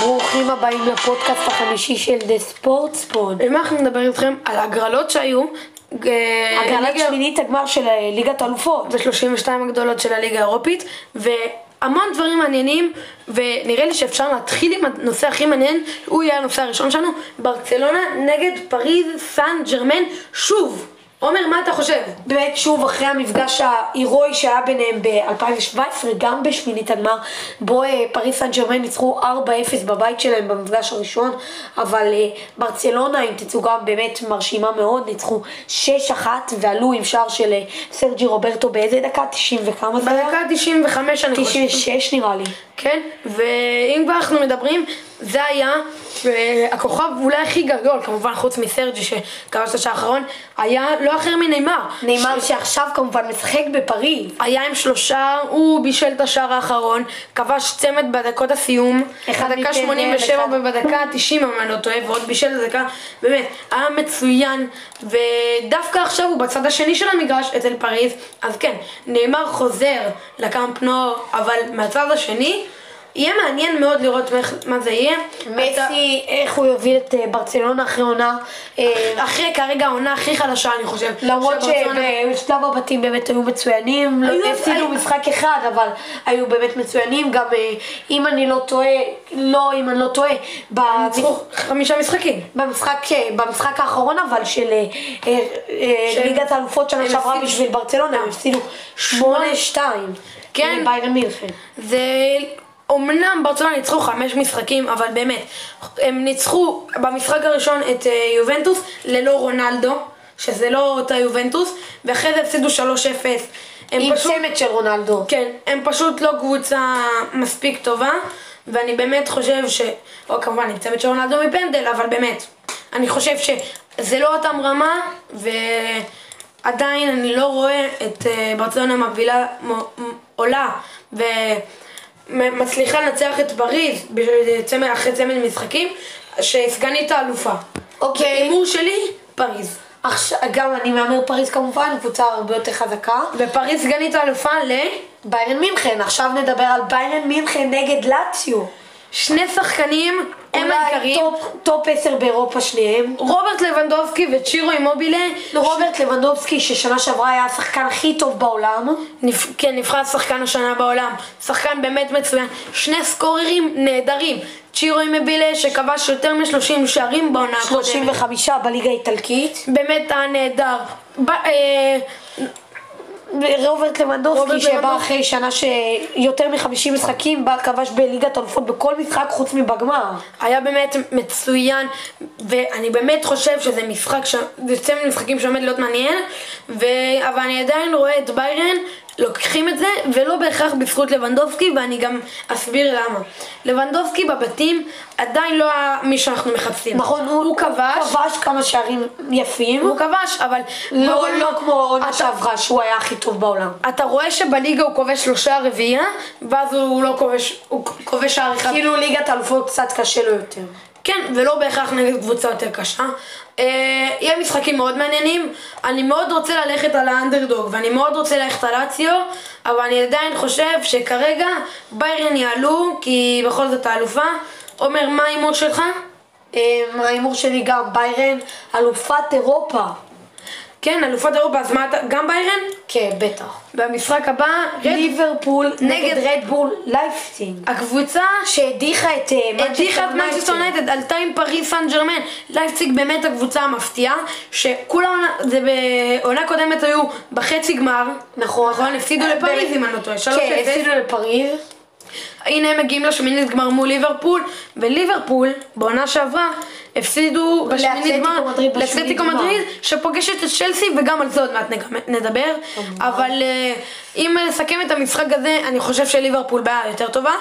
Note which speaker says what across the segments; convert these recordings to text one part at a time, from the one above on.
Speaker 1: ברוכים הבאים לפודקאסט החמישי של The Sports Pod.
Speaker 2: היום אנחנו נדבר איתכם על הגרלות שהיו. אה,
Speaker 1: הגרלת
Speaker 2: ליגה-
Speaker 1: שמינית הגמר של אה, ליגת האלופות.
Speaker 2: ב-32 הגדולות של הליגה האירופית, והמון דברים מעניינים, ונראה לי שאפשר להתחיל עם הנושא הכי מעניין, הוא יהיה הנושא הראשון שלנו, ברצלונה נגד פריז סן ג'רמן, שוב. עומר, מה אתה חושב?
Speaker 1: באמת שוב אחרי המפגש ההירואי שהיה ביניהם ב-2017, גם בשמינית הגמר, בו אה, פריס סן ג'רמן ניצחו 4-0 בבית שלהם במפגש הראשון, אבל אה, ברצלונה עם תצוגה באמת מרשימה מאוד, ניצחו 6-1 ועלו עם שער של אה, סרג'י רוברטו באיזה דקה? 90 וכמה זה היה?
Speaker 2: בדקה 95 אני חושב.
Speaker 1: 96 נראה לי.
Speaker 2: כן, ואם כבר אנחנו מדברים, זה היה אה, הכוכב אולי הכי גדול, כמובן חוץ מסרג'י שכבש את השעה האחרון, היה לא אחר מנאמר.
Speaker 1: נאמר שעכשיו כמובן משחק בפריז.
Speaker 2: היה עם שלושה, הוא בישל את השער האחרון, כבש צמד בדקות הסיום,
Speaker 1: אחד כן,
Speaker 2: בדקה
Speaker 1: מכן,
Speaker 2: 87
Speaker 1: אחד.
Speaker 2: ובדקה 90 אם אני לא טועה, ועוד בישל את הדקה, באמת, היה מצוין, ודווקא עכשיו הוא בצד השני של המגרש, אצל פריז, אז כן, נאמר חוזר לקאמפ נו, אבל מהצד השני, יהיה מעניין מאוד לראות איך- מה זה יהיה. אתה-
Speaker 1: מסי, איך הוא יוביל את אה, ברצלונה אחרי עונה. אה,
Speaker 2: אחרי כרגע העונה הכי חלשה, אני חושב.
Speaker 1: למרות
Speaker 2: שברצלונה-
Speaker 1: שבשלב הבתים באמת היו מצוינים, לא-
Speaker 2: היו-
Speaker 1: הפסידו
Speaker 2: היו-
Speaker 1: משחק אחד, אבל היו באמת מצוינים, גם אה, אם אני לא טועה, לא, אם אני לא טועה, ב-
Speaker 2: ניצחו חמישה משחקים.
Speaker 1: במשחק, אה, במשחק האחרון אבל של אה, אה, אה,
Speaker 2: של-
Speaker 1: ליגת האלופות שנה
Speaker 2: הם
Speaker 1: שעברה
Speaker 2: הפסידו-
Speaker 1: בשביל ברצלונה, הם הפסידו 8-2.
Speaker 2: כן.
Speaker 1: לביירן מינכן.
Speaker 2: זה... אמנם ברצלונה ניצחו חמש משחקים, אבל באמת, הם ניצחו במשחק הראשון את אה, יובנטוס ללא רונלדו, שזה לא אותה יובנטוס, ואחרי זה הפסידו 3-0. הם
Speaker 1: עם
Speaker 2: פשוט...
Speaker 1: צמד של רונלדו.
Speaker 2: כן, הם פשוט לא קבוצה מספיק טובה, ואני באמת חושב ש... או כמובן, עם צוות של רונלדו מפנדל, אבל באמת, אני חושב שזה לא אותם רמה, ועדיין אני לא רואה את אה, ברצלונה מובילה, מ- מ- עולה, ומצליחה לנצח את פריז בצמד- אחרי צמד משחקים, שסגנית האלופה.
Speaker 1: אוקיי.
Speaker 2: בהימור שלי, פריז.
Speaker 1: עכשיו, גם אני מהמר פריז כמובן, קבוצה הרבה יותר חזקה.
Speaker 2: ופריז סגנית האלופה ל...
Speaker 1: ביירן מינכן, עכשיו נדבר על ביירן מינכן נגד לאציו.
Speaker 2: שני שחקנים, הם העיקריים.
Speaker 1: אולי טופ- טופ 10 באירופה שניהם.
Speaker 2: רוברט לבנדובסקי וצ'ירו אימובילה,
Speaker 1: רוברט לבנדובסקי, ששנה שעברה היה השחקן הכי טוב בעולם.
Speaker 2: נפ... כן, נבחר שחקן השנה בעולם, שחקן באמת מצוין, שני סקוררים נהדרים, צ'ירו אימובילה שכבש יותר מ-30 שערים בעונה הקודמת,
Speaker 1: 35 בליגה האיטלקית.
Speaker 2: באמת היה נהדר, ב... אה...
Speaker 1: רוברט לבנדובסקי
Speaker 2: רוברט
Speaker 1: שבא
Speaker 2: לבנדובסקי.
Speaker 1: אחרי שנה שיותר מ-50 משחקים, בא כבש בליגת אלופות בכל משחק חוץ מבגמר.
Speaker 2: היה באמת מצוין, ואני באמת חושב שזה משחק, ש... זה צמד משחקים שעומד להיות מעניין, ו... אבל אני עדיין רואה את ביירן לוקחים את זה, ולא בהכרח בזכות לבנדובסקי, ואני גם אסביר למה. לבנדובסקי בבתים עדיין לא היה מי שאנחנו מחפשים.
Speaker 1: נכון,
Speaker 2: הוא כבש,
Speaker 1: כבש כמה שערים יפים.
Speaker 2: הוא כבש, אבל... בוא
Speaker 1: לא
Speaker 2: נאמר-
Speaker 1: לא כמו עונה
Speaker 2: אתה-
Speaker 1: שעברה, שהוא היה הכי טוב בעולם.
Speaker 2: אתה רואה שבליגה הוא כובש שלושה רביעייה, ואז הוא לא כובש, הוא כובש שער אחד.
Speaker 1: כאילו ליגת אלופות קצת קשה לו יותר.
Speaker 2: כן, ולא בהכרח נגד קבוצה יותר קשה. אה, יהיה משחקים מאוד מעניינים. אני מאוד רוצה ללכת על האנדרדוג, ואני מאוד רוצה ללכת על אציו, אבל אני עדיין חושב שכרגע ביירן יעלו, כי בכל זאת האלופה. עומר, מה ההימור שלך?
Speaker 1: אמ, ההימור שלי גם ביירן, אלופת אירופה.
Speaker 2: כן, אלופת אירופה, אז מה אתה... גם ביירן?
Speaker 1: כן, בטח.
Speaker 2: במשחק הבא, רד...
Speaker 1: ליברפול נגד
Speaker 2: כן. נגד
Speaker 1: רדבול לייפסינג.
Speaker 2: הקבוצה
Speaker 1: שהדיחה את אה,
Speaker 2: הדיחה את
Speaker 1: מנצ'סטר
Speaker 2: מנצ'סטר
Speaker 1: יונייטד.
Speaker 2: יונייטד, עלתה עם פריס סן ג'רמן. לייפציג באמת הקבוצה המפתיעה, שכולם, זה בעונה קודמת היו בחצי גמר.
Speaker 1: נכון.
Speaker 2: נכון, הפסידו לפריז, אם אני לא טועה, שלוש
Speaker 1: כן,
Speaker 2: אפס.
Speaker 1: הפסידו לפריז.
Speaker 2: הנה הם מגיעים לשמינית גמר מול ליברפול, וליברפול, בעונה שעברה, הפסידו בשמינית
Speaker 1: לאתלטיקו
Speaker 2: גמר,
Speaker 1: מדריד בשמינית
Speaker 2: לאתלטיקו
Speaker 1: גמר.
Speaker 2: מדריד, שפוגשת את צ'לסי, וגם על זה עוד מעט נג- נדבר. אבל אה, אם נסכם את המשחק הזה, אני חושב שליברפול בעיה יותר טובה.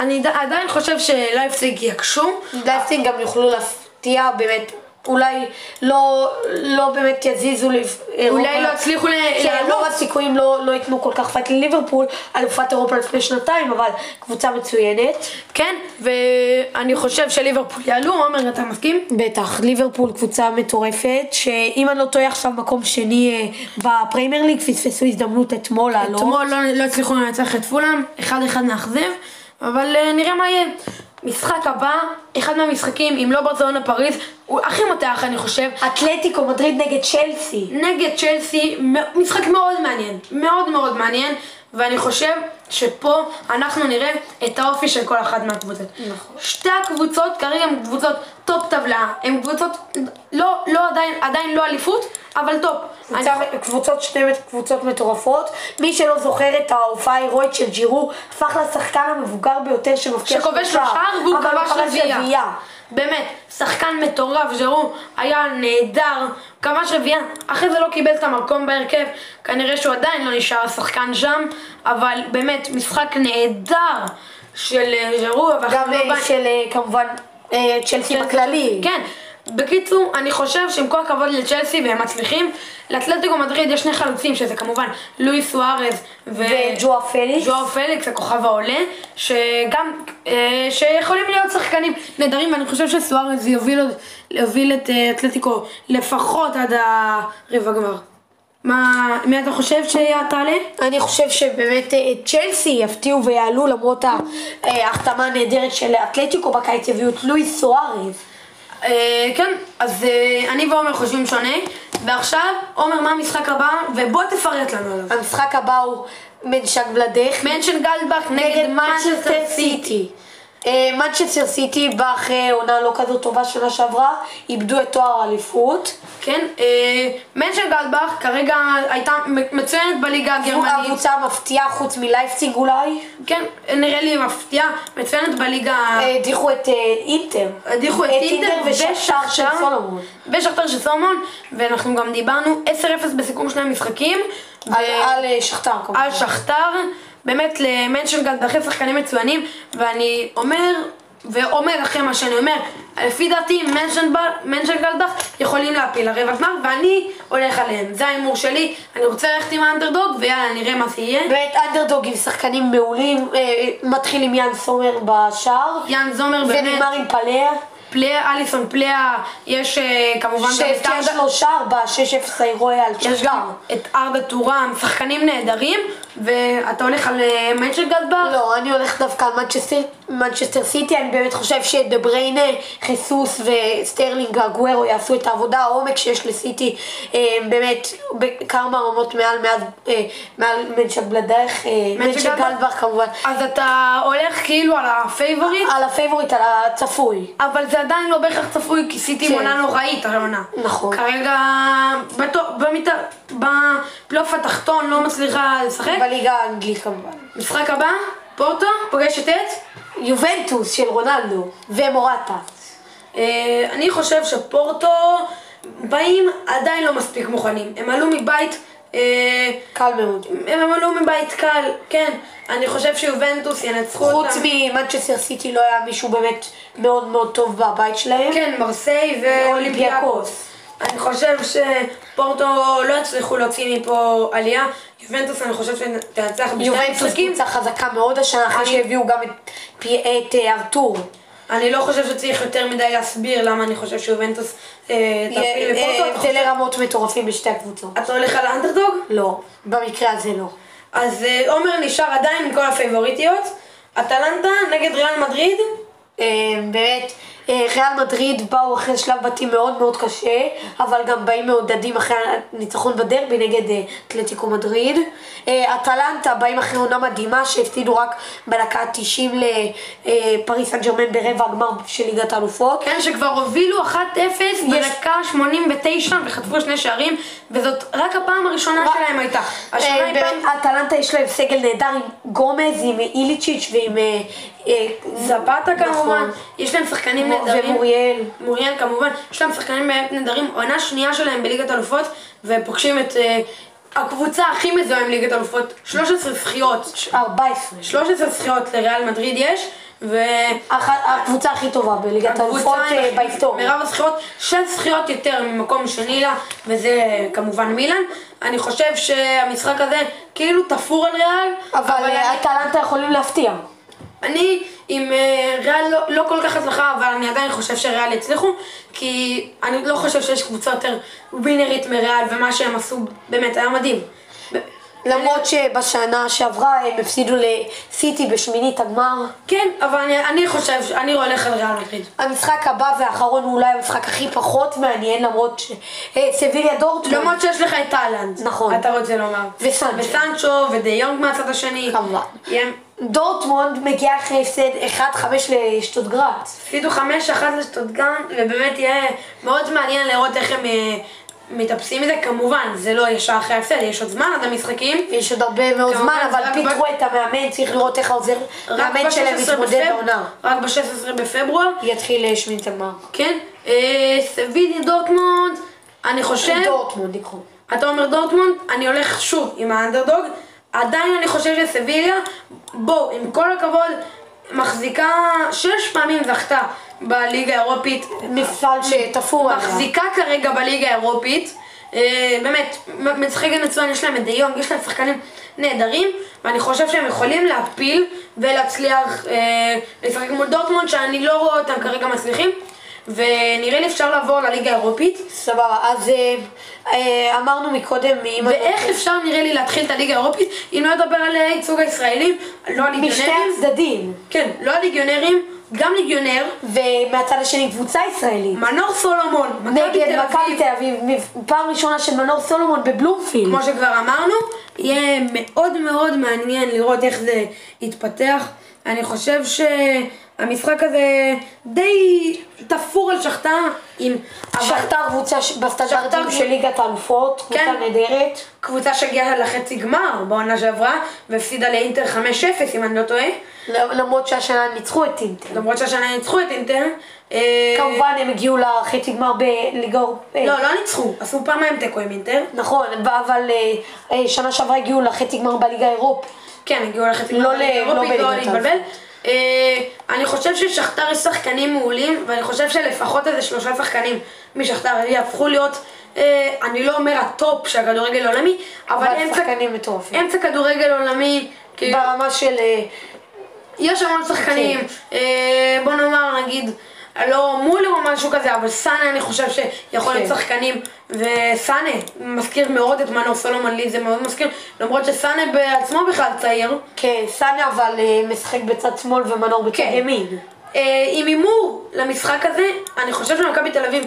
Speaker 2: אני ד- עדיין חושב שלייפציג יקשו.
Speaker 1: לייפסינג גם יוכלו להפתיע באמת. אולי לא, לא באמת יזיזו, לפ- אירופה-
Speaker 2: לא יצליחו ל-
Speaker 1: כן,
Speaker 2: לעלות.
Speaker 1: רוב הסיכויים לא, לא ייתנו כל כך פייט לליברפול, אלופת אירופה לפני שנתיים, אבל קבוצה מצוינת.
Speaker 2: כן, ואני חושב שליברפול יעלו, עומר, אתה מסכים?
Speaker 1: בטח, ליברפול קבוצה מטורפת, שאם אני לא טועה עכשיו מקום שני אה, בפריימר ליג, פספסו הזדמנות אתמול אה, לא? לעלות.
Speaker 2: אתמול לא, לא הצליחו לנצח את פולאם, אחד אחד מאכזב, אבל אה, נראה מה יהיה. משחק הבא, אחד מהמשחקים, אם לא ברצלונה פריז, הוא הכי מותח אני חושב,
Speaker 1: אתלטיקו מדריד נגד צ'לסי.
Speaker 2: נגד צ'לסי, מ- משחק מאוד מעניין, מאוד מאוד מעניין, ואני חושב שפה אנחנו נראה את האופי של כל אחת מהקבוצות.
Speaker 1: נכון.
Speaker 2: שתי הקבוצות כרגע הן קבוצות טופ טבלה, הן קבוצות, לא, לא עדיין, עדיין לא אליפות, אבל טופ. אני-
Speaker 1: קבוצה- קבוצות שתי קבוצות מטורפות. מי שלא זוכר את ההופעה ההירואית של ג'ירו, הפך לשחקן המבוגר ביותר שמבקיע
Speaker 2: שכובש לו שער והוא
Speaker 1: אבל הוא
Speaker 2: כבש רביעייה. באמת, שחקן מטורף, ז'רו, היה נהדר, כבש רביעייה, אחרי זה לא קיבל את המקום בהרכב, כנראה שהוא עדיין לא נשאר השחקן שם, אבל באמת, משחק נהדר של אה, ז'רו,
Speaker 1: גם
Speaker 2: ואנחנו
Speaker 1: אה,
Speaker 2: לא בא-
Speaker 1: של אה, כמובן אה, צ'לסי בכללי.
Speaker 2: כן. בקיצור, אני חושב שעם כל הכבוד לצ'לסי והם מצליחים, לאתלטיקו מדריד יש שני חלוצים, שזה כמובן לואי סוארז ו...
Speaker 1: וג'ואה פליקס.
Speaker 2: ז'ואר פליקס, הכוכב העולה, שגם, אה, שיכולים להיות שחקנים נהדרים, ואני חושב שסוארז יוביל, עוד- יוביל את אה, אתלטיקו לפחות עד הרבע גמר. מה, מי אתה חושב שתעלה?
Speaker 1: אני חושב שבאמת אה, צ'לסי יפתיעו ויעלו למרות אה, ההחתמה הנהדרת של אתלטיקו בקיץ הביאו את לואיס סוארז.
Speaker 2: אה, כן, אז אה, אני ועומר חושבים שונה, ועכשיו, עומר, מה המשחק הבא? ובוא תפרט לנו עליו.
Speaker 1: המשחק הבא הוא מנשק בלדך
Speaker 2: מנשן גלדבך נגד מנצ'סטר סיטי.
Speaker 1: אה, מנצ'סטר סיטי באה אחרי עונה לא כזאת טובה שנה שעברה, איבדו את תואר האליפות.
Speaker 2: כן, אה, מנשן גלדבך כרגע הייתה מצוינת בליגה הגרמנית.
Speaker 1: הקבוצה המפתיעה חוץ מלייפציג אולי,
Speaker 2: כן, נראה לי מפתיעה, מצוינת בליגה,
Speaker 1: אה, הדיחו את אה, אינטר.
Speaker 2: הדיחו את
Speaker 1: אה,
Speaker 2: אינטר
Speaker 1: ושכתר של
Speaker 2: ושכתר-
Speaker 1: סולומון.
Speaker 2: ושכתר של סולומון, ואנחנו גם דיברנו 10-0 בסיכום שני המשחקים, ו-
Speaker 1: על- על אה, שכתר כמובן.
Speaker 2: על שכתר, באמת למנשנגלד אחרי שחקנים מצוינים, ואני אומר, ואומר אחרי מה שאני אומר, לפי דעתי מנשנגלדך יכולים להפיל לרבע גמר, ואני הולך עליהם, זה ההימור שלי, אני רוצה ללכת עם האנדרדוג, ויאללה נראה מה זה יהיה.
Speaker 1: באמת אנדרדוג עם שחקנים מעולים, אה, מתחיל עם יאן סומר בשער,
Speaker 2: יאן זומר באמת,
Speaker 1: ונגמר עם פלאה,
Speaker 2: פליה, אליסון פליה, יש אה, כמובן גם את
Speaker 1: שהבקיע
Speaker 2: ארדה-
Speaker 1: שלו שער ב-6-0 האירועי על
Speaker 2: יש
Speaker 1: שכתר.
Speaker 2: גם את ארדה טורם, שחקנים נהדרים, ואתה הולך על אה, מנצ'גלדבר?
Speaker 1: לא, אני הולכת דווקא על מנצ'סטר- מנצ'סטר סיטי, אני באמת חושב שדה בריינה, חיסוס וסטרלינג הגוורו יעשו את העבודה, העומק שיש לסיטי אה, באמת בכמה רמות מעל מאז, אה, מעל מנצ'ק בלדך, מנצ'ק גלדבך כמובן,
Speaker 2: אז אתה הולך כאילו על הפייבוריט,
Speaker 1: על הפייבוריט, על הצפוי.
Speaker 2: אבל זה עדיין לא בהכרח צפוי, כי סיטי עם
Speaker 1: כן.
Speaker 2: עונה נוראית, העונה.
Speaker 1: נכון.
Speaker 2: כרגע בטו- במיטה- בפלייאוף התחתון לא מצליחה לשחק.
Speaker 1: בליגה האנגלית כמובן.
Speaker 2: משחק הבא, פורטו, פוגשת את?
Speaker 1: יובנטוס של רונלדו ומורטה.
Speaker 2: אה, אני חושב שפורטו באים עדיין לא מספיק מוכנים. הם עלו מבית, אה,
Speaker 1: קל מאוד.
Speaker 2: הם עלו מבית קל, כן. אני חושב שיובנטוס ינצחו אותם.
Speaker 1: חוץ ממנצ'סטר סיטי לא היה מישהו באמת מאוד מאוד טוב בבית שלהם.
Speaker 2: כן, מרסיי ואולימפיאקוס. אני חושב שפורטו לא יצליחו להוציא מפה עלייה. יובנטוס אני חושב שתנצח בשני
Speaker 1: יובנטוס
Speaker 2: המשחקים.
Speaker 1: קבוצה חזקה מאוד השנה, אחרי
Speaker 2: אני-
Speaker 1: שהביאו גם את, פי- את אה, ארתור.
Speaker 2: אני לא חושב שצריך יותר מדי להסביר למה אני חושב שיובנטוס אה, תפיל
Speaker 1: אה,
Speaker 2: לפורטו.
Speaker 1: אה,
Speaker 2: אתה חושב-
Speaker 1: הבדלי רמות מטורפים בשתי הקבוצות.
Speaker 2: אתה הולך על האנדרדוג?
Speaker 1: לא, במקרה הזה לא.
Speaker 2: אז אה, עומר נשאר עדיין עם כל הפייבוריטיות. אטלנטה נגד ריאל מדריד.
Speaker 1: אה, באמת, אה, ריאל מדריד באו אחרי שלב בתים מאוד מאוד קשה, אבל גם באים מעודדים אחרי הניצחון בדרבי נגד אה, אתלטיקו מדריד. אה, אטלנטה באים אחרי עונה מדהימה שהפסידו רק בדקה ה-90 לפריס סן ג'רמן ברבע הגמר של ליגת האלופות.
Speaker 2: כן, שכבר הובילו 1-0 בדקה 89 וחטפו שני שערים, וזאת רק הפעם הראשונה שלהם הייתה. השנה
Speaker 1: אה,
Speaker 2: היא פעם...
Speaker 1: באטלנטה יש להם סגל נהדר עם גומז, עם איליצ'יץ' ועם... אה, אה,
Speaker 2: זבאטה
Speaker 1: נכון.
Speaker 2: כמובן, יש להם שחקנים
Speaker 1: מור-
Speaker 2: נהדרים.
Speaker 1: ומוריאל.
Speaker 2: מוריאל כמובן, יש להם שחקנים באמת נהדרים, עונה שנייה שלהם בליגת אלופות, ופוגשים את אה, הקבוצה הכי מזוהה עם ליגת אלופות, 13 זכיות.
Speaker 1: 14.
Speaker 2: 13 זכיות לריאל מדריד יש, ו...
Speaker 1: הח- הקבוצה הכי טובה בליגת האלופות
Speaker 2: הקבוצה
Speaker 1: אה,
Speaker 2: עם
Speaker 1: בהיסטוריה.
Speaker 2: מרב הזכיות, שש זכיות יותר ממקום שני לה, וזה כמובן מילאן. אני חושב שהמשחק הזה כאילו תפור על ריאל,
Speaker 1: אבל אה,
Speaker 2: אני-
Speaker 1: אטלנטה יכולים להפתיע.
Speaker 2: אני עם אה, ריאל לא, לא כל כך הצלחה, אבל אני עדיין חושב שריאל יצליחו, כי אני לא חושב שיש קבוצה יותר ווינרית מריאל, ומה שהם עשו באמת היה מדהים. ב-
Speaker 1: למרות שבשנה שעברה הם הפסידו לסיטי בשמינית הגמר.
Speaker 2: כן, אבל אני, אני חושב, ש- אני הולך על ריאל מדריד.
Speaker 1: המשחק הבא והאחרון הוא אולי המשחק הכי פחות מעניין למרות ש... אה, סביליה דורטמונד.
Speaker 2: למרות שיש לך את תאילנד.
Speaker 1: נכון.
Speaker 2: אתה רוצה לומר.
Speaker 1: וסנצ'ו.
Speaker 2: וסנצ'ו, ודי יונג מהצד השני.
Speaker 1: כמובן.
Speaker 2: הם
Speaker 1: דורטמונד מגיע אחרי הפסד 1-5 לשטוטגרט.
Speaker 2: הפסידו 5-1 לשטוטגן, ובאמת יהיה מאוד מעניין לראות איך הם אה, מתאפסים מזה. כמובן, זה לא יהיה שעה אחרי ההפסד, יש עוד זמן עד המשחקים.
Speaker 1: יש עוד הרבה מאוד
Speaker 2: כמובן,
Speaker 1: זמן, אבל
Speaker 2: רק
Speaker 1: פיטרו את המאמן, צריך לראות איך העוזר
Speaker 2: רק
Speaker 1: המאמן
Speaker 2: ב-
Speaker 1: שלהם
Speaker 2: 16
Speaker 1: מתמודד
Speaker 2: בפברואר-
Speaker 1: בעונה.
Speaker 2: רק ב-16 בפברואר.
Speaker 1: יתחיל אה, שמינית הגמר.
Speaker 2: כן. אה, סביליה דורטמונד, אני
Speaker 1: כן.
Speaker 2: חושב...
Speaker 1: דורטמונד יקחו.
Speaker 2: אתה אומר דורטמונד, אני הולך שוב עם האנדרדוג, עדיין אני חושב שסביליה, בואו, עם כל הכבוד, מחזיקה, שש פעמים זכתה בליגה האירופית,
Speaker 1: מפעל שתפור עליה.
Speaker 2: מחזיקה כרגע בליגה האירופית, אה, באמת, מ- משחקת מצוין, יש להם את דיונג, יש להם שחקנים נהדרים, ואני חושב שהם יכולים להפיל ולהצליח אה, לשחק מול דורטמונד, שאני לא רואה אותם כרגע מצליחים, ונראה לי אפשר לעבור לליגה האירופית.
Speaker 1: סבבה, אז אה, אה, אמרנו מקודם, אם
Speaker 2: ואיך אפשר נראה לי להתחיל את הליגה האירופית אם לא לדבר על הייצוג הישראלים, לא
Speaker 1: משתי
Speaker 2: הליגיונרים,
Speaker 1: הצדדים,
Speaker 2: כן, לא הליגיונרים, גם ליגיונר,
Speaker 1: ומהצד השני קבוצה ישראלית.
Speaker 2: מנור סולומון, מכבי
Speaker 1: נגד
Speaker 2: תל
Speaker 1: מכבי
Speaker 2: אביב,
Speaker 1: תל אביב, מ- פעם ראשונה של מנור סולומון בבלומפילד.
Speaker 2: כמו שכבר אמרנו, יהיה מאוד מאוד מעניין לראות איך זה יתפתח. אני חושב שהמשחק הזה די תפור על שכתר עם אבל
Speaker 1: שכתר קבוצה ש- בסטנדרטים
Speaker 2: שכתר-
Speaker 1: של ליגת האלופות, קבוצה
Speaker 2: כן.
Speaker 1: נהדרת.
Speaker 2: קבוצה שהגיעה לחצי גמר בעונה שעברה והפסידה לאינטר 5-0 אם אני לא טועה,
Speaker 1: ל- למרות שהשנה ניצחו את אינטר.
Speaker 2: למרות שהשנה ניצחו את אינטר. אה,
Speaker 1: כמובן הם הגיעו לחצי גמר בליגה... אירופ- אה,
Speaker 2: לא, לא ניצחו, עשו פעמיים תיקו עם אינטר.
Speaker 1: נכון, ב- אבל אה, אה, שנה שעברה הגיעו לחצי גמר בליגה האירופית.
Speaker 2: כן, הגיעו לחצי
Speaker 1: לא
Speaker 2: גמר
Speaker 1: ל-
Speaker 2: בליגה
Speaker 1: לא
Speaker 2: האירופית,
Speaker 1: בליגת
Speaker 2: לא
Speaker 1: האלופות.
Speaker 2: להתבלבל. אה, אני חושב ששכתר יש שחקנים מעולים, ואני חושב שלפחות איזה שלושה שחקנים משכתר יהפכו להיות, אה, אני לא אומר הטופ של הכדורגל העולמי, אבל
Speaker 1: אבל
Speaker 2: אמצע-
Speaker 1: שחקנים מטורפים.
Speaker 2: אמצע כדורגל עולמי, כאילו,
Speaker 1: ברמה של... אה,
Speaker 2: יש המון שחקנים,
Speaker 1: כן.
Speaker 2: אה, בוא נאמר נגיד, לא מולר או משהו כזה, אבל סאנה אני חושב שיכול להיות
Speaker 1: כן.
Speaker 2: שחקנים, וסאנה מזכיר מאוד את מנור סולומון לי, זה מאוד מזכיר, למרות שסאנה בעצמו בכלל צעיר.
Speaker 1: כן, סאנה אבל אה, משחק בצד שמאל ומנור בצד
Speaker 2: כן.
Speaker 1: ימין.
Speaker 2: אה, עם הימור למשחק הזה, אני חושב שמכבי תל אביב,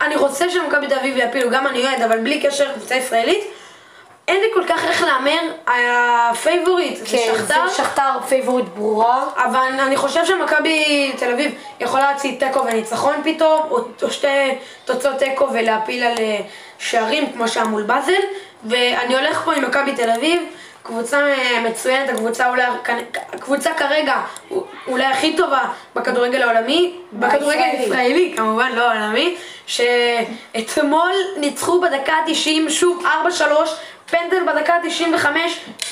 Speaker 2: אני רוצה שמכבי תל אביב יפילו, גם אני אוהד, אבל בלי קשר לקבוצה ישראלית, אין לי כל כך איך להמר, הפייבוריט זה
Speaker 1: כן, זה
Speaker 2: שכתר,
Speaker 1: שכתר פייבוריט ברורה.
Speaker 2: אבל אני חושב שמכבי תל אביב יכולה להציג תיקו וניצחון פתאום, או, או שתי תוצאות תיקו ולהפיל על אה, שערים כמו שהיה מול באזל, ואני הולך פה עם מכבי תל אביב, קבוצה אה, מצוינת, הקבוצה אולי, כ- הקבוצה כרגע אולי הכי טובה בכדורגל העולמי, בכדורגל
Speaker 1: הישראלי.
Speaker 2: הישראלי כמובן, לא העולמי, שאתמול ניצחו בדקה ה-90 שוב 4-3, פנדל בדקה ה-95,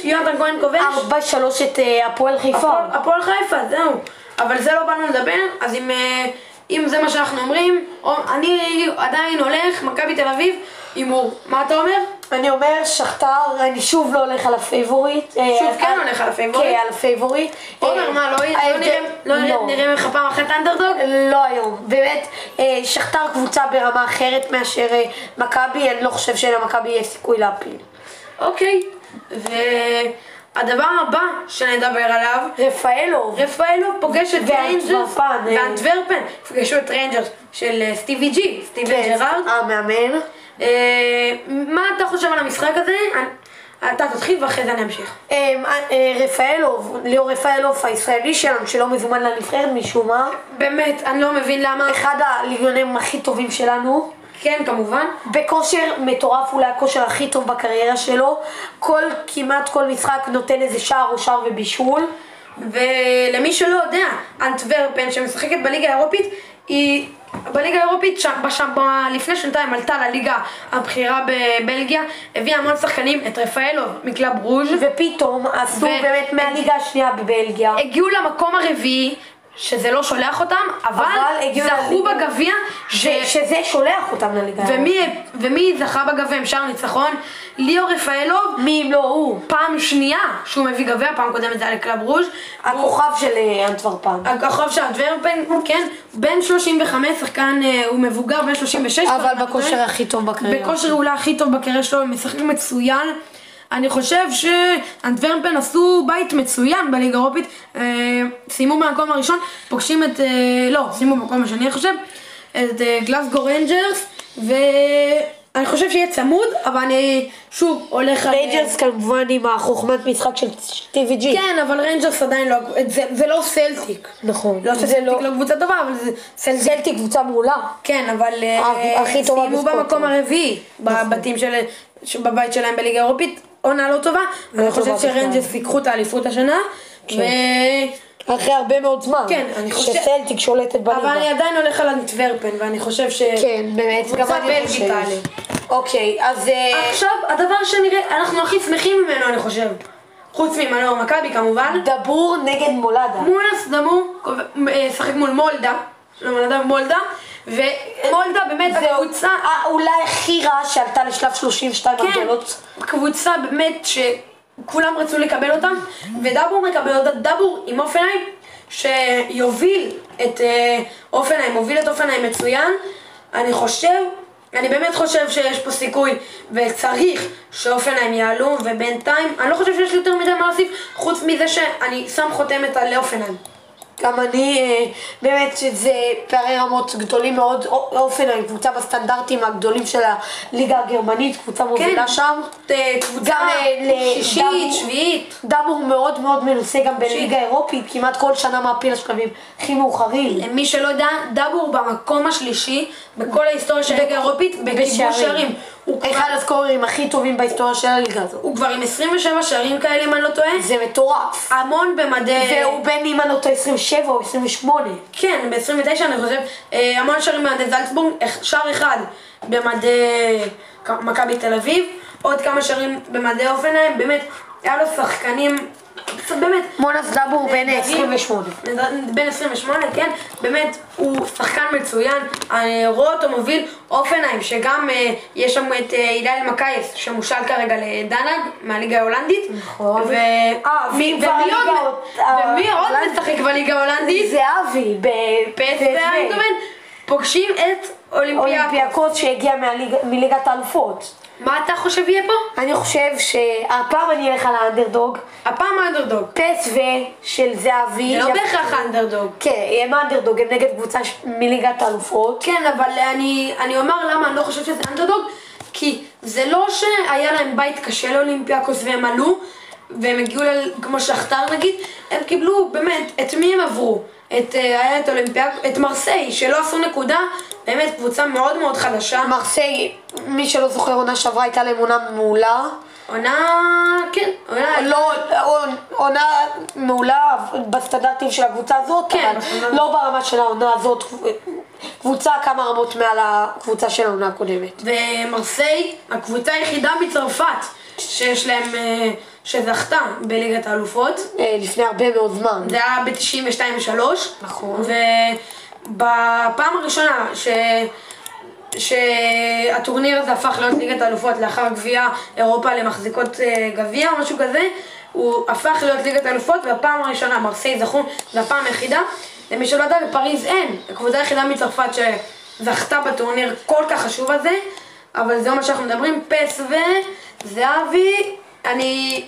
Speaker 2: יונתן כהן כובש.
Speaker 1: 4-3 את אה, הפועל חיפה.
Speaker 2: הפועל- הפועל חיפה, זהו. אבל זה לא באנו לדבר, אז אם, אה, אם זה מה שאנחנו אומרים, או, אני עדיין הולך, מכבי תל אביב, הימור. מה אתה אומר?
Speaker 1: אני אומר שכתר, אני שוב לא הולך על הפייבוריט. אה,
Speaker 2: שוב
Speaker 1: על-
Speaker 2: כן הולך על הפייבוריט.
Speaker 1: כן, על הפייבוריט.
Speaker 2: עומר,
Speaker 1: אה,
Speaker 2: מה, לא, לא
Speaker 1: ההבדל-
Speaker 2: נראה- לא נראה- נראה ממך פעם אחת אנדרדוג?
Speaker 1: לא היום, באמת, אה, שכתר קבוצה ברמה אחרת מאשר אה, מכבי, אני לא חושב שלמכבי יש סיכוי להפיל.
Speaker 2: אוקיי. והדבר הבא שנדבר עליו,
Speaker 1: רפאלוב,
Speaker 2: רפאלו פוגש את ריינג'רס,
Speaker 1: ואנטוורפן, אה.
Speaker 2: ואנטוורפן, פגשו את ריינג'רס של אה, סטיבי ג'י, סטיבי
Speaker 1: כן.
Speaker 2: ג'רארד.
Speaker 1: המאמן,
Speaker 2: אה, מה אתה חושב על המשחק הזה? אני- אתה תתחיל ואחרי זה אני אמשיך.
Speaker 1: אה, אה, רפאלוב, ליאור רפאלוב הישראלי שלנו, שלא מזומן לנבחרת משום מה,
Speaker 2: באמת, אני לא מבין למה.
Speaker 1: אחד הליגיונרים הכי טובים שלנו,
Speaker 2: כן, כמובן.
Speaker 1: בכושר מטורף, אולי הכושר הכי טוב בקריירה שלו, כל, כמעט כל משחק נותן איזה שער או שער ובישול,
Speaker 2: ולמי שלא יודע, אנטוורפן שמשחקת בליגה האירופית, היא בליגה האירופית, שם, בשם, ב, לפני שנתיים עלתה לליגה הבכירה בבלגיה, הביאה המון שחקנים, את רפאלוב מקלאב רוז'
Speaker 1: ופתאום עשו
Speaker 2: ו- אה,
Speaker 1: באמת מהליגה השנייה בבלגיה.
Speaker 2: הגיעו למקום הרביעי, שזה לא שולח אותם, אבל,
Speaker 1: אבל הגיעו
Speaker 2: זכו
Speaker 1: לליגה.
Speaker 2: בגביע,
Speaker 1: ש- שזה שולח אותם לליגה.
Speaker 2: אה, ומי, ומי זכה בגביע עם שער ניצחון? ליאור רפאלוב,
Speaker 1: מי אם לא הוא?
Speaker 2: פעם שנייה שהוא מביא גביע, פעם קודמת זה היה לקלאב רוז'
Speaker 1: הכוכב של אה, אנטוורפן.
Speaker 2: הכוכב של אנטוורפן, כן, בן 35, שחקן, אה, הוא מבוגר, בן 36. כבר,
Speaker 1: אבל
Speaker 2: אני
Speaker 1: בכושר
Speaker 2: טועה.
Speaker 1: הכי טוב בקריירה.
Speaker 2: בכושר אולי הכי טוב בקריירה שלו, הוא משחק מצוין. אני חושב שאנטוורפן עשו בית מצוין בליגה האירופית, אה, סיימו במקום הראשון, פוגשים את, אה, לא, סיימו במקום השני אני חושב, את אה, גלסגו רנג'רס, ואני חושב שיהיה צמוד, אבל אני שוב הולך על...
Speaker 1: רייג'רס כמובן עם החוכמת משחק של טיווי ג'י.
Speaker 2: כן, אבל רנג'רס עדיין לא, זה, זה לא סלטיק.
Speaker 1: נכון.
Speaker 2: לא
Speaker 1: זה
Speaker 2: שסלטיק לא... לא קבוצה טובה, אבל זה סלטיק.
Speaker 1: סלטיק קבוצה מעולה.
Speaker 2: כן, אבל אה,
Speaker 1: הכי טובה כן. נכון.
Speaker 2: סיימו
Speaker 1: בסקוטלנד.
Speaker 2: במקום הרביעי בבתים של... ש- בבית שלהם בליגה האירופית, עונה לא טובה.
Speaker 1: לא
Speaker 2: אני חושב
Speaker 1: טובה בכלל. כן.
Speaker 2: שרנג'ס ייקחו את האליפות השנה. ו...
Speaker 1: אחרי הרבה מאוד זמן.
Speaker 2: כן, אני חושב-
Speaker 1: שסלטיק שולטת
Speaker 2: אבל אני
Speaker 1: בליגה.
Speaker 2: עדיין הולך על אנטוורפן, ואני חושב ש...
Speaker 1: כן, באמת, גם
Speaker 2: קבוצה
Speaker 1: אני
Speaker 2: בלגית
Speaker 1: חושבת.
Speaker 2: תעלה.
Speaker 1: אוקיי, אז... אה,
Speaker 2: עכשיו, הדבר שנראה, אנחנו הכי שמחים ממנו, אני חושב. חוץ ממנור מכבי כמובן.
Speaker 1: דבור נגד מולדה.
Speaker 2: מונס דמו משחק מול מולדה. לא מולדה, מולדה. ומולדה באמת
Speaker 1: זהו,
Speaker 2: הקבוצה
Speaker 1: אה, אולי הכי רע שעלתה לשלב 32
Speaker 2: כן,
Speaker 1: הגדולות.
Speaker 2: קבוצה באמת שכולם רצו לקבל אותם, ודאבור מקבל אותה, דאבור עם אופנהיים, שיוביל את אה, אופנהיים, מוביל את אופנהיים מצוין. אני חושב, אני באמת חושב שיש פה סיכוי, וצריך שאופנהיים יעלו, ובינתיים, אני לא חושב שיש לי יותר מדי מה להוסיף, חוץ מזה שאני שם חותמת על אופנהיים.
Speaker 1: גם אני, אה, באמת שזה פערי רמות גדולים מאוד. אופ- אופנהיים, קבוצה בסטנדרטים הגדולים של הליגה הגרמנית, קבוצה מובילה שם.
Speaker 2: אה, קבוצה
Speaker 1: גם, אה, ל- דאבור.
Speaker 2: שישית, שביעית.
Speaker 1: דאבור מאוד מאוד מנוסה גם בליגה האירופית, כמעט כל שנה מעפיל השלבים הכי מאוחרים.
Speaker 2: למי שלא יודע, דאבור במקום השלישי בכל ההיסטוריה של הליגה האירופית בכיבוש שערים. הוא כבר-
Speaker 1: אחד הסקוררים הכי טובים בהיסטוריה של הליגה הזאת.
Speaker 2: הוא כבר עם 27 שערים כאלה, אם אני לא טועה.
Speaker 1: זה מטורף.
Speaker 2: המון במדי...
Speaker 1: והוא בין אם אני לא טועה 27 או 28.
Speaker 2: כן, ב-29 אני חושב. אה, המון שערים במדי זלצבורג, אח- שער אחד במדי כ- מכבי תל אביב, עוד כמה שערים במדי אופנהיים, באמת, היה לו שחקנים... באמת,
Speaker 1: מונס דאבור בין
Speaker 2: דוד.
Speaker 1: 28.
Speaker 2: אה, בן 28, כן, באמת, הוא שחקן מצוין, אני רואה אותו מוביל אופנהיים, שגם אה, יש שם את אה, הלל מקייס, שמושל כרגע לדנג, מהליגה ההולנדית.
Speaker 1: נכון.
Speaker 2: ו...
Speaker 1: אה,
Speaker 2: מי-
Speaker 1: והליגה
Speaker 2: ומי עוד-
Speaker 1: ההולנדית-
Speaker 2: ומי עוד משחק בליגה ההולנדית?
Speaker 1: זהבי ב-
Speaker 2: פס
Speaker 1: בטבריה.
Speaker 2: ואיידומן פוגשים את אולימפיאקו.
Speaker 1: אולימפיאקוס שהגיע מהליגה- מליגת האלופות.
Speaker 2: מה אתה חושב יהיה פה?
Speaker 1: אני חושב שהפעם אני אלך על האנדרדוג.
Speaker 2: הפעם האנדרדוג.
Speaker 1: פס ו של זהבי.
Speaker 2: זה לא
Speaker 1: יפ-
Speaker 2: בהכרח האנדרדוג.
Speaker 1: כן, הם האנדרדוג, הם נגד קבוצה ש- מליגת האלופות.
Speaker 2: כן, אבל אני, אני אומר למה אני לא חושב שזה אנדרדוג, כי זה לא שהיה להם בית קשה לאולימפיאקוס והם עלו, והם הגיעו ל... כמו שכתר נגיד, הם קיבלו באמת, את מי הם עברו? את, אה, היה את אולימפיאק... את מרסיי, שלא עשו נקודה, באמת קבוצה מאוד מאוד חדשה.
Speaker 1: מרסיי, מי שלא זוכר, עונה שעברה הייתה להם עונה מעולה.
Speaker 2: עונה... כן, עונה...
Speaker 1: לא, עונ- עונה מעולה בסטנדרטים של הקבוצה הזאת,
Speaker 2: כן,
Speaker 1: אבל
Speaker 2: בסטנדרט.
Speaker 1: לא ברמה של העונה הזאת. קבוצה כמה רמות מעל הקבוצה של העונה הקודמת.
Speaker 2: ומרסיי, הקבוצה היחידה מצרפת שיש להם... אה, שזכתה בליגת האלופות.
Speaker 1: אה, לפני הרבה מאוד זמן.
Speaker 2: זה היה ב-92-3.
Speaker 1: נכון.
Speaker 2: ובפעם הראשונה ש... שהטורניר הזה הפך להיות ליגת האלופות לאחר גביע אירופה למחזיקות אה, גביע או משהו כזה, הוא הפך להיות ליגת האלופות והפעם הראשונה מרסיי זכו, זו הפעם היחידה. למי שלא יודע, בפריז אין, הקבוצה היחידה מצרפת שזכתה בטורניר כל כך חשוב הזה, אבל זה לא מה שאנחנו מדברים, פס וזהבי, אני...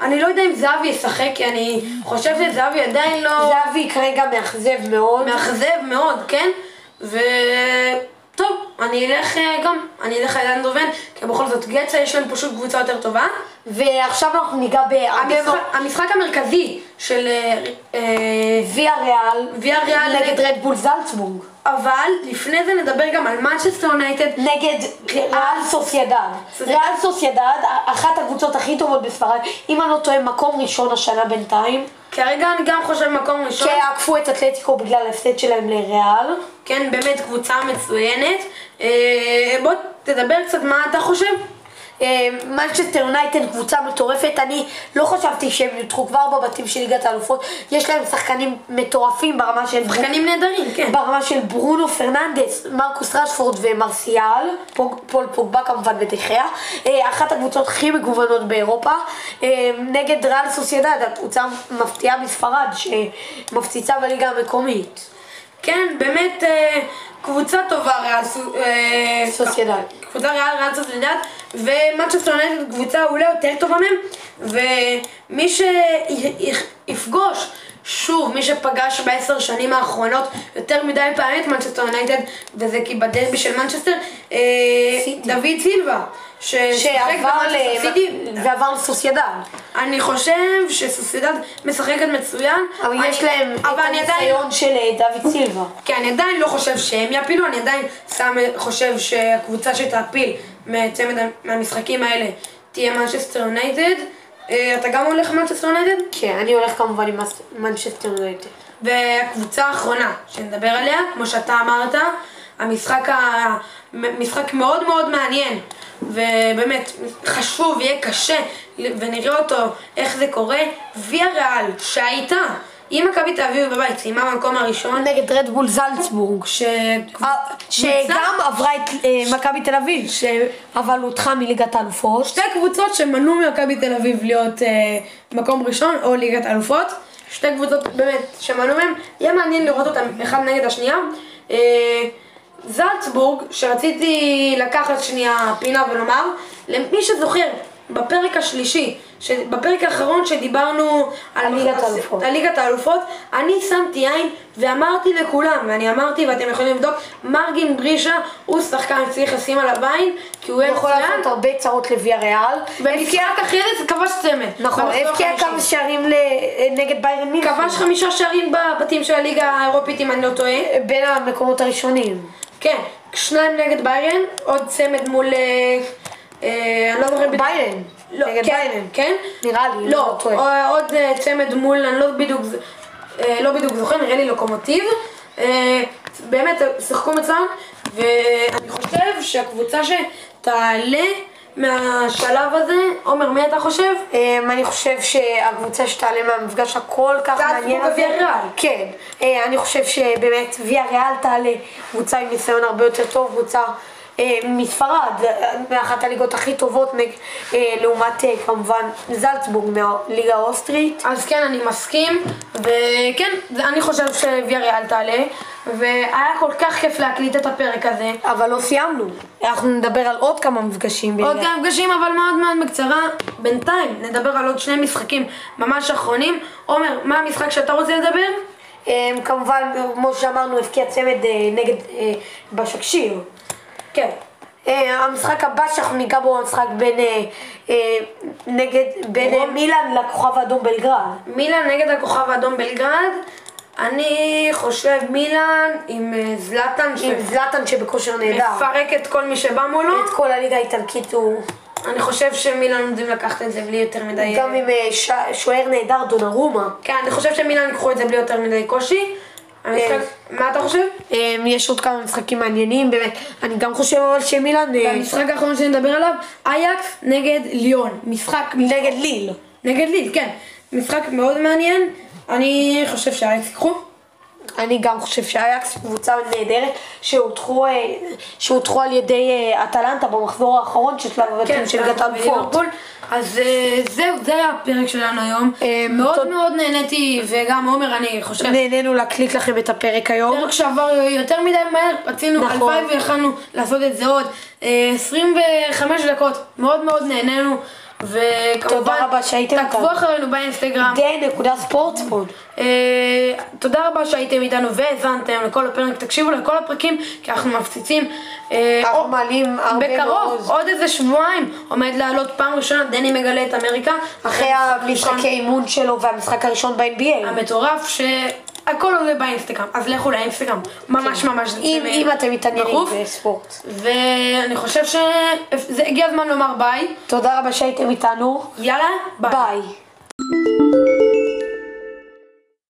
Speaker 2: אני לא יודע אם זהבי ישחק, כי אני חושב שזהבי עדיין לא...
Speaker 1: זהבי כרגע מאכזב מאוד.
Speaker 2: מאכזב מאוד, כן? ו... טוב, אני אלך אה, גם, אני אלך על אנדרובן, כי בכל זאת גצה יש להם פשוט קבוצה יותר טובה.
Speaker 1: ועכשיו אנחנו ניגע בהרבה מאוד.
Speaker 2: המשחק, המשחק המרכזי של אה, אה,
Speaker 1: ויה ריאל.
Speaker 2: ויה ריאל
Speaker 1: נגד רדבול זלצבורג.
Speaker 2: אבל לפני זה נדבר גם על מנצ'סטר יונייטד.
Speaker 1: נגד ריאל סוסיידד. ריאל סוסיידד, אחת הקבוצות הכי טובות בספרד, אם אני לא טועה, מקום ראשון השנה בינתיים,
Speaker 2: כרגע אני גם חושב מקום ראשון.
Speaker 1: כי עקפו את אתלטיקו בגלל ההפסד שלהם לריאל.
Speaker 2: כן, באמת קבוצה מצוינת. אה, בוא תדבר קצת מה אתה חושב.
Speaker 1: אה, מנצ'סטר יונייטד קבוצה מטורפת, אני לא חשבתי שהם יודחו כבר בבתים של ליגת האלופות, יש להם שחקנים מטורפים ברמה של...
Speaker 2: שחקנים נהדרים, כן.
Speaker 1: ברמה של ברונו פרננדס, מרקוס רשפורד ומרסיאל, פוג- פול פוגבה כמובן בדחיה, אה, אחת הקבוצות הכי מגוונות באירופה, אה, נגד ריאל סוסיידד, הקבוצה מפתיעה מספרד שמפציצה בליגה המקומית.
Speaker 2: כן, באמת אה, קבוצה טובה, ריאל סו- אה,
Speaker 1: סוסיידד.
Speaker 2: קבוצה ריאל ריאל סוסיידד, ומנצ'סטר יונייטד קבוצה אולי יותר טובה מהם, ומי שיפגוש, שוב, מי שפגש בעשר שנים האחרונות יותר מדי פעמים את מנצ'סטר יונייטד, וזה כי בדרבי של מנצ'סטר, אה,
Speaker 1: סיטי.
Speaker 2: דוד סילבה, ששיחק
Speaker 1: שעבר
Speaker 2: במנצ'סטר סיטי,
Speaker 1: ל... ועבר לסוסיידן.
Speaker 2: אני חושב שסוסידד משחקת מצוין.
Speaker 1: אבל
Speaker 2: אני-
Speaker 1: יש להם את
Speaker 2: אבל אני עדיין
Speaker 1: הניסיון של אה, דוד סילבה.
Speaker 2: כי אני עדיין לא חושב שהם יפילו, אני עדיין שם, חושב שהקבוצה שתעפיל מצמד ה- מהמשחקים האלה תהיה מנצ'סטר יונייטד. אה, אתה גם הולך מנצ'סטר יונייטד?
Speaker 1: כן, אני הולך כמובן עם מס- מנצ'סטר יונייטד.
Speaker 2: והקבוצה האחרונה שנדבר עליה, כמו שאתה אמרת, המשחק ה... מ- משחק מאוד מאוד מעניין, ובאמת חשוב, יהיה קשה, ונראה אותו, איך זה קורה, ויה ריאל, שהייתה עם מכבי תל אביב בבית, סיימה במקום הראשון,
Speaker 1: נגד רדבול זלצבורג.
Speaker 2: ש...
Speaker 1: אה, שגם עברה את אה, מכבי תל אביב, אבל הודחה מליגת האלופות.
Speaker 2: שתי קבוצות שמנעו ממכבי תל אביב להיות אה, מקום ראשון או ליגת אלופות. שתי קבוצות באמת שמנעו מהם, יהיה מעניין לראות אותם אחד נגד השנייה. אה, זלצבורג, שרציתי לקחת שנייה פינה ולומר, למי שזוכר, בפרק השלישי, ש- בפרק האחרון שדיברנו
Speaker 1: על ליגת
Speaker 2: מחזור-
Speaker 1: האלופות.
Speaker 2: על ליגת האלופות, אני שמתי עין ואמרתי לכולם, ואני אמרתי ואתם יכולים לבדוק, מרגין ברישה הוא שחקן שצריך לשים עליו עין, כי הוא
Speaker 1: הוא יכול
Speaker 2: מצוין,
Speaker 1: לעשות הרבה צרות לוויה ריאל.
Speaker 2: במשחק אחרי זה זה כבש צמד.
Speaker 1: נכון,
Speaker 2: במחזור
Speaker 1: הבקיע
Speaker 2: החמישי.
Speaker 1: כמה שערים ל- אה, נגד ביירן מינכן.
Speaker 2: כבש חמישה שערים בבתים של הליגה האירופית אם אני לא טועה.
Speaker 1: בין המקומות הראשונים.
Speaker 2: כן, שניים נגד ביירן, עוד צמד מול... אה, אה, אני לא זוכר בדיוק.
Speaker 1: ביירן.
Speaker 2: לא,
Speaker 1: נגד
Speaker 2: כן,
Speaker 1: ביירן.
Speaker 2: כן?
Speaker 1: נראה לי, אם אני
Speaker 2: לא,
Speaker 1: לא טועה.
Speaker 2: אה, עוד אה, צמד מול, אני לא בדיוק, ז- אה, לא בדיוק זוכר, נראה לי לוקומטיב. אה, באמת, אה, שיחקו מצוין, ואני חושב שהקבוצה שתעלה מהשלב הזה, עומר, מי אתה חושב?
Speaker 1: אמ, אני חושב שהקבוצה שתעלה מהמפגש הכל כך
Speaker 2: זה
Speaker 1: מעניין
Speaker 2: עצמו
Speaker 1: הזה,
Speaker 2: בוויה ריאל.
Speaker 1: כן, אה, אני חושב שבאמת ויה ריאל תעלה, קבוצה עם ניסיון הרבה יותר טוב, קבוצה אה, מספרד, אה, מאחת הליגות הכי טובות נג- אה, לעומת אה, כמובן זלצבורג מהליגה האוסטרית.
Speaker 2: אז כן, אני מסכים, וכן, זה- אני חושב שוויאריאל תעלה, והיה כל כך כיף להקליט את הפרק הזה.
Speaker 1: אבל לא סיימנו, אנחנו נדבר על עוד כמה מפגשים.
Speaker 2: עוד
Speaker 1: בליגה.
Speaker 2: כמה מפגשים, אבל מאוד מאוד בקצרה, בינתיים נדבר על עוד שני משחקים ממש אחרונים. עומר, מה המשחק שאתה רוצה לדבר?
Speaker 1: אמ, כמובן, כמו שאמרנו, הבקיע צמד אה, נגד אה, בשקשיר.
Speaker 2: כן.
Speaker 1: אה, המשחק הבא שאנחנו ניגע בו הוא המשחק בין אה, אה, נגד, בין אה, מילאן לכוכב האדום בלגרד.
Speaker 2: מילאן נגד הכוכב האדום בלגרד. אני חושב מילאן עם אה, זלאטן,
Speaker 1: עם זלאטן שבכושר נהדר.
Speaker 2: שמפרק את כל מי שבא מולו.
Speaker 1: את כל הליגה האיטלקית הוא
Speaker 2: אני חושב שמילאן יודעים לקחת את זה בלי יותר מדי...
Speaker 1: גם עם אה, ש- שוער נהדר דונרומה.
Speaker 2: כן, אני חושב שמילאן ייקחו את זה בלי יותר מדי קושי. המשחק, מה אתה חושב?
Speaker 1: אמ, יש עוד כמה משחקים מעניינים, באמת. אני גם חושב אבל שמילאן אה,
Speaker 2: המשחק האחרון שנדבר עליו, אייקס נגד ליון. משחק
Speaker 1: נגד ליל.
Speaker 2: נגד ליד, כן. משחק מאוד מעניין. אני חושב שאייקס ייקחו.
Speaker 1: אני גם חושב שאייקס קבוצה נהדרת שהודחו, אה, שהודחו על ידי אה, אטלנטה במחזור האחרון של שלב הבתים של גטן
Speaker 2: אנחנו
Speaker 1: פורט.
Speaker 2: בליברפול. כן, אז אה, זהו, זה היה הפרק שלנו היום.
Speaker 1: אה,
Speaker 2: מאוד
Speaker 1: תודה.
Speaker 2: מאוד נהניתי, וגם עומר, אני חושב.
Speaker 1: נהנינו להקליט לכם את הפרק היום.
Speaker 2: הפרק שעבר יותר מדי מהר, רצינו,
Speaker 1: נכון.
Speaker 2: הלוואי ויכלנו לעשות את זה עוד. אה, 25 דקות, מאוד מאוד נהנינו, וכמובן,
Speaker 1: תודה רבה שהייתם
Speaker 2: תעקבו
Speaker 1: איתנו.
Speaker 2: אחרינו באינסטגרם.
Speaker 1: די נקודה ספורטספורט.
Speaker 2: אה, תודה רבה שהייתם איתנו והאזנתם לכל הפרק, תקשיבו לכל הפרקים, כי אנחנו מפציצים. אה,
Speaker 1: אנחנו
Speaker 2: או-
Speaker 1: מעלים הרבה מאוד.
Speaker 2: בקרוב, עוד איזה שבועיים, עומד לעלות פעם ראשונה, דני מגלה את אמריקה.
Speaker 1: אחרי
Speaker 2: המשחק הראשון
Speaker 1: המשחקי אימון שלו והמשחק הראשון ב-NBA.
Speaker 2: המטורף שהכל עולה באינסטגרם, אז לכו לאינסטגרם, ממש ממש. זה
Speaker 1: כן. אם
Speaker 2: מ-
Speaker 1: אם אתם מתעניינים
Speaker 2: דחוף.
Speaker 1: בספורט.
Speaker 2: ואני חושב שהגיע הזמן לומר ביי.
Speaker 1: תודה רבה שהייתם איתנו.
Speaker 2: יאללה, ביי.
Speaker 1: ביי.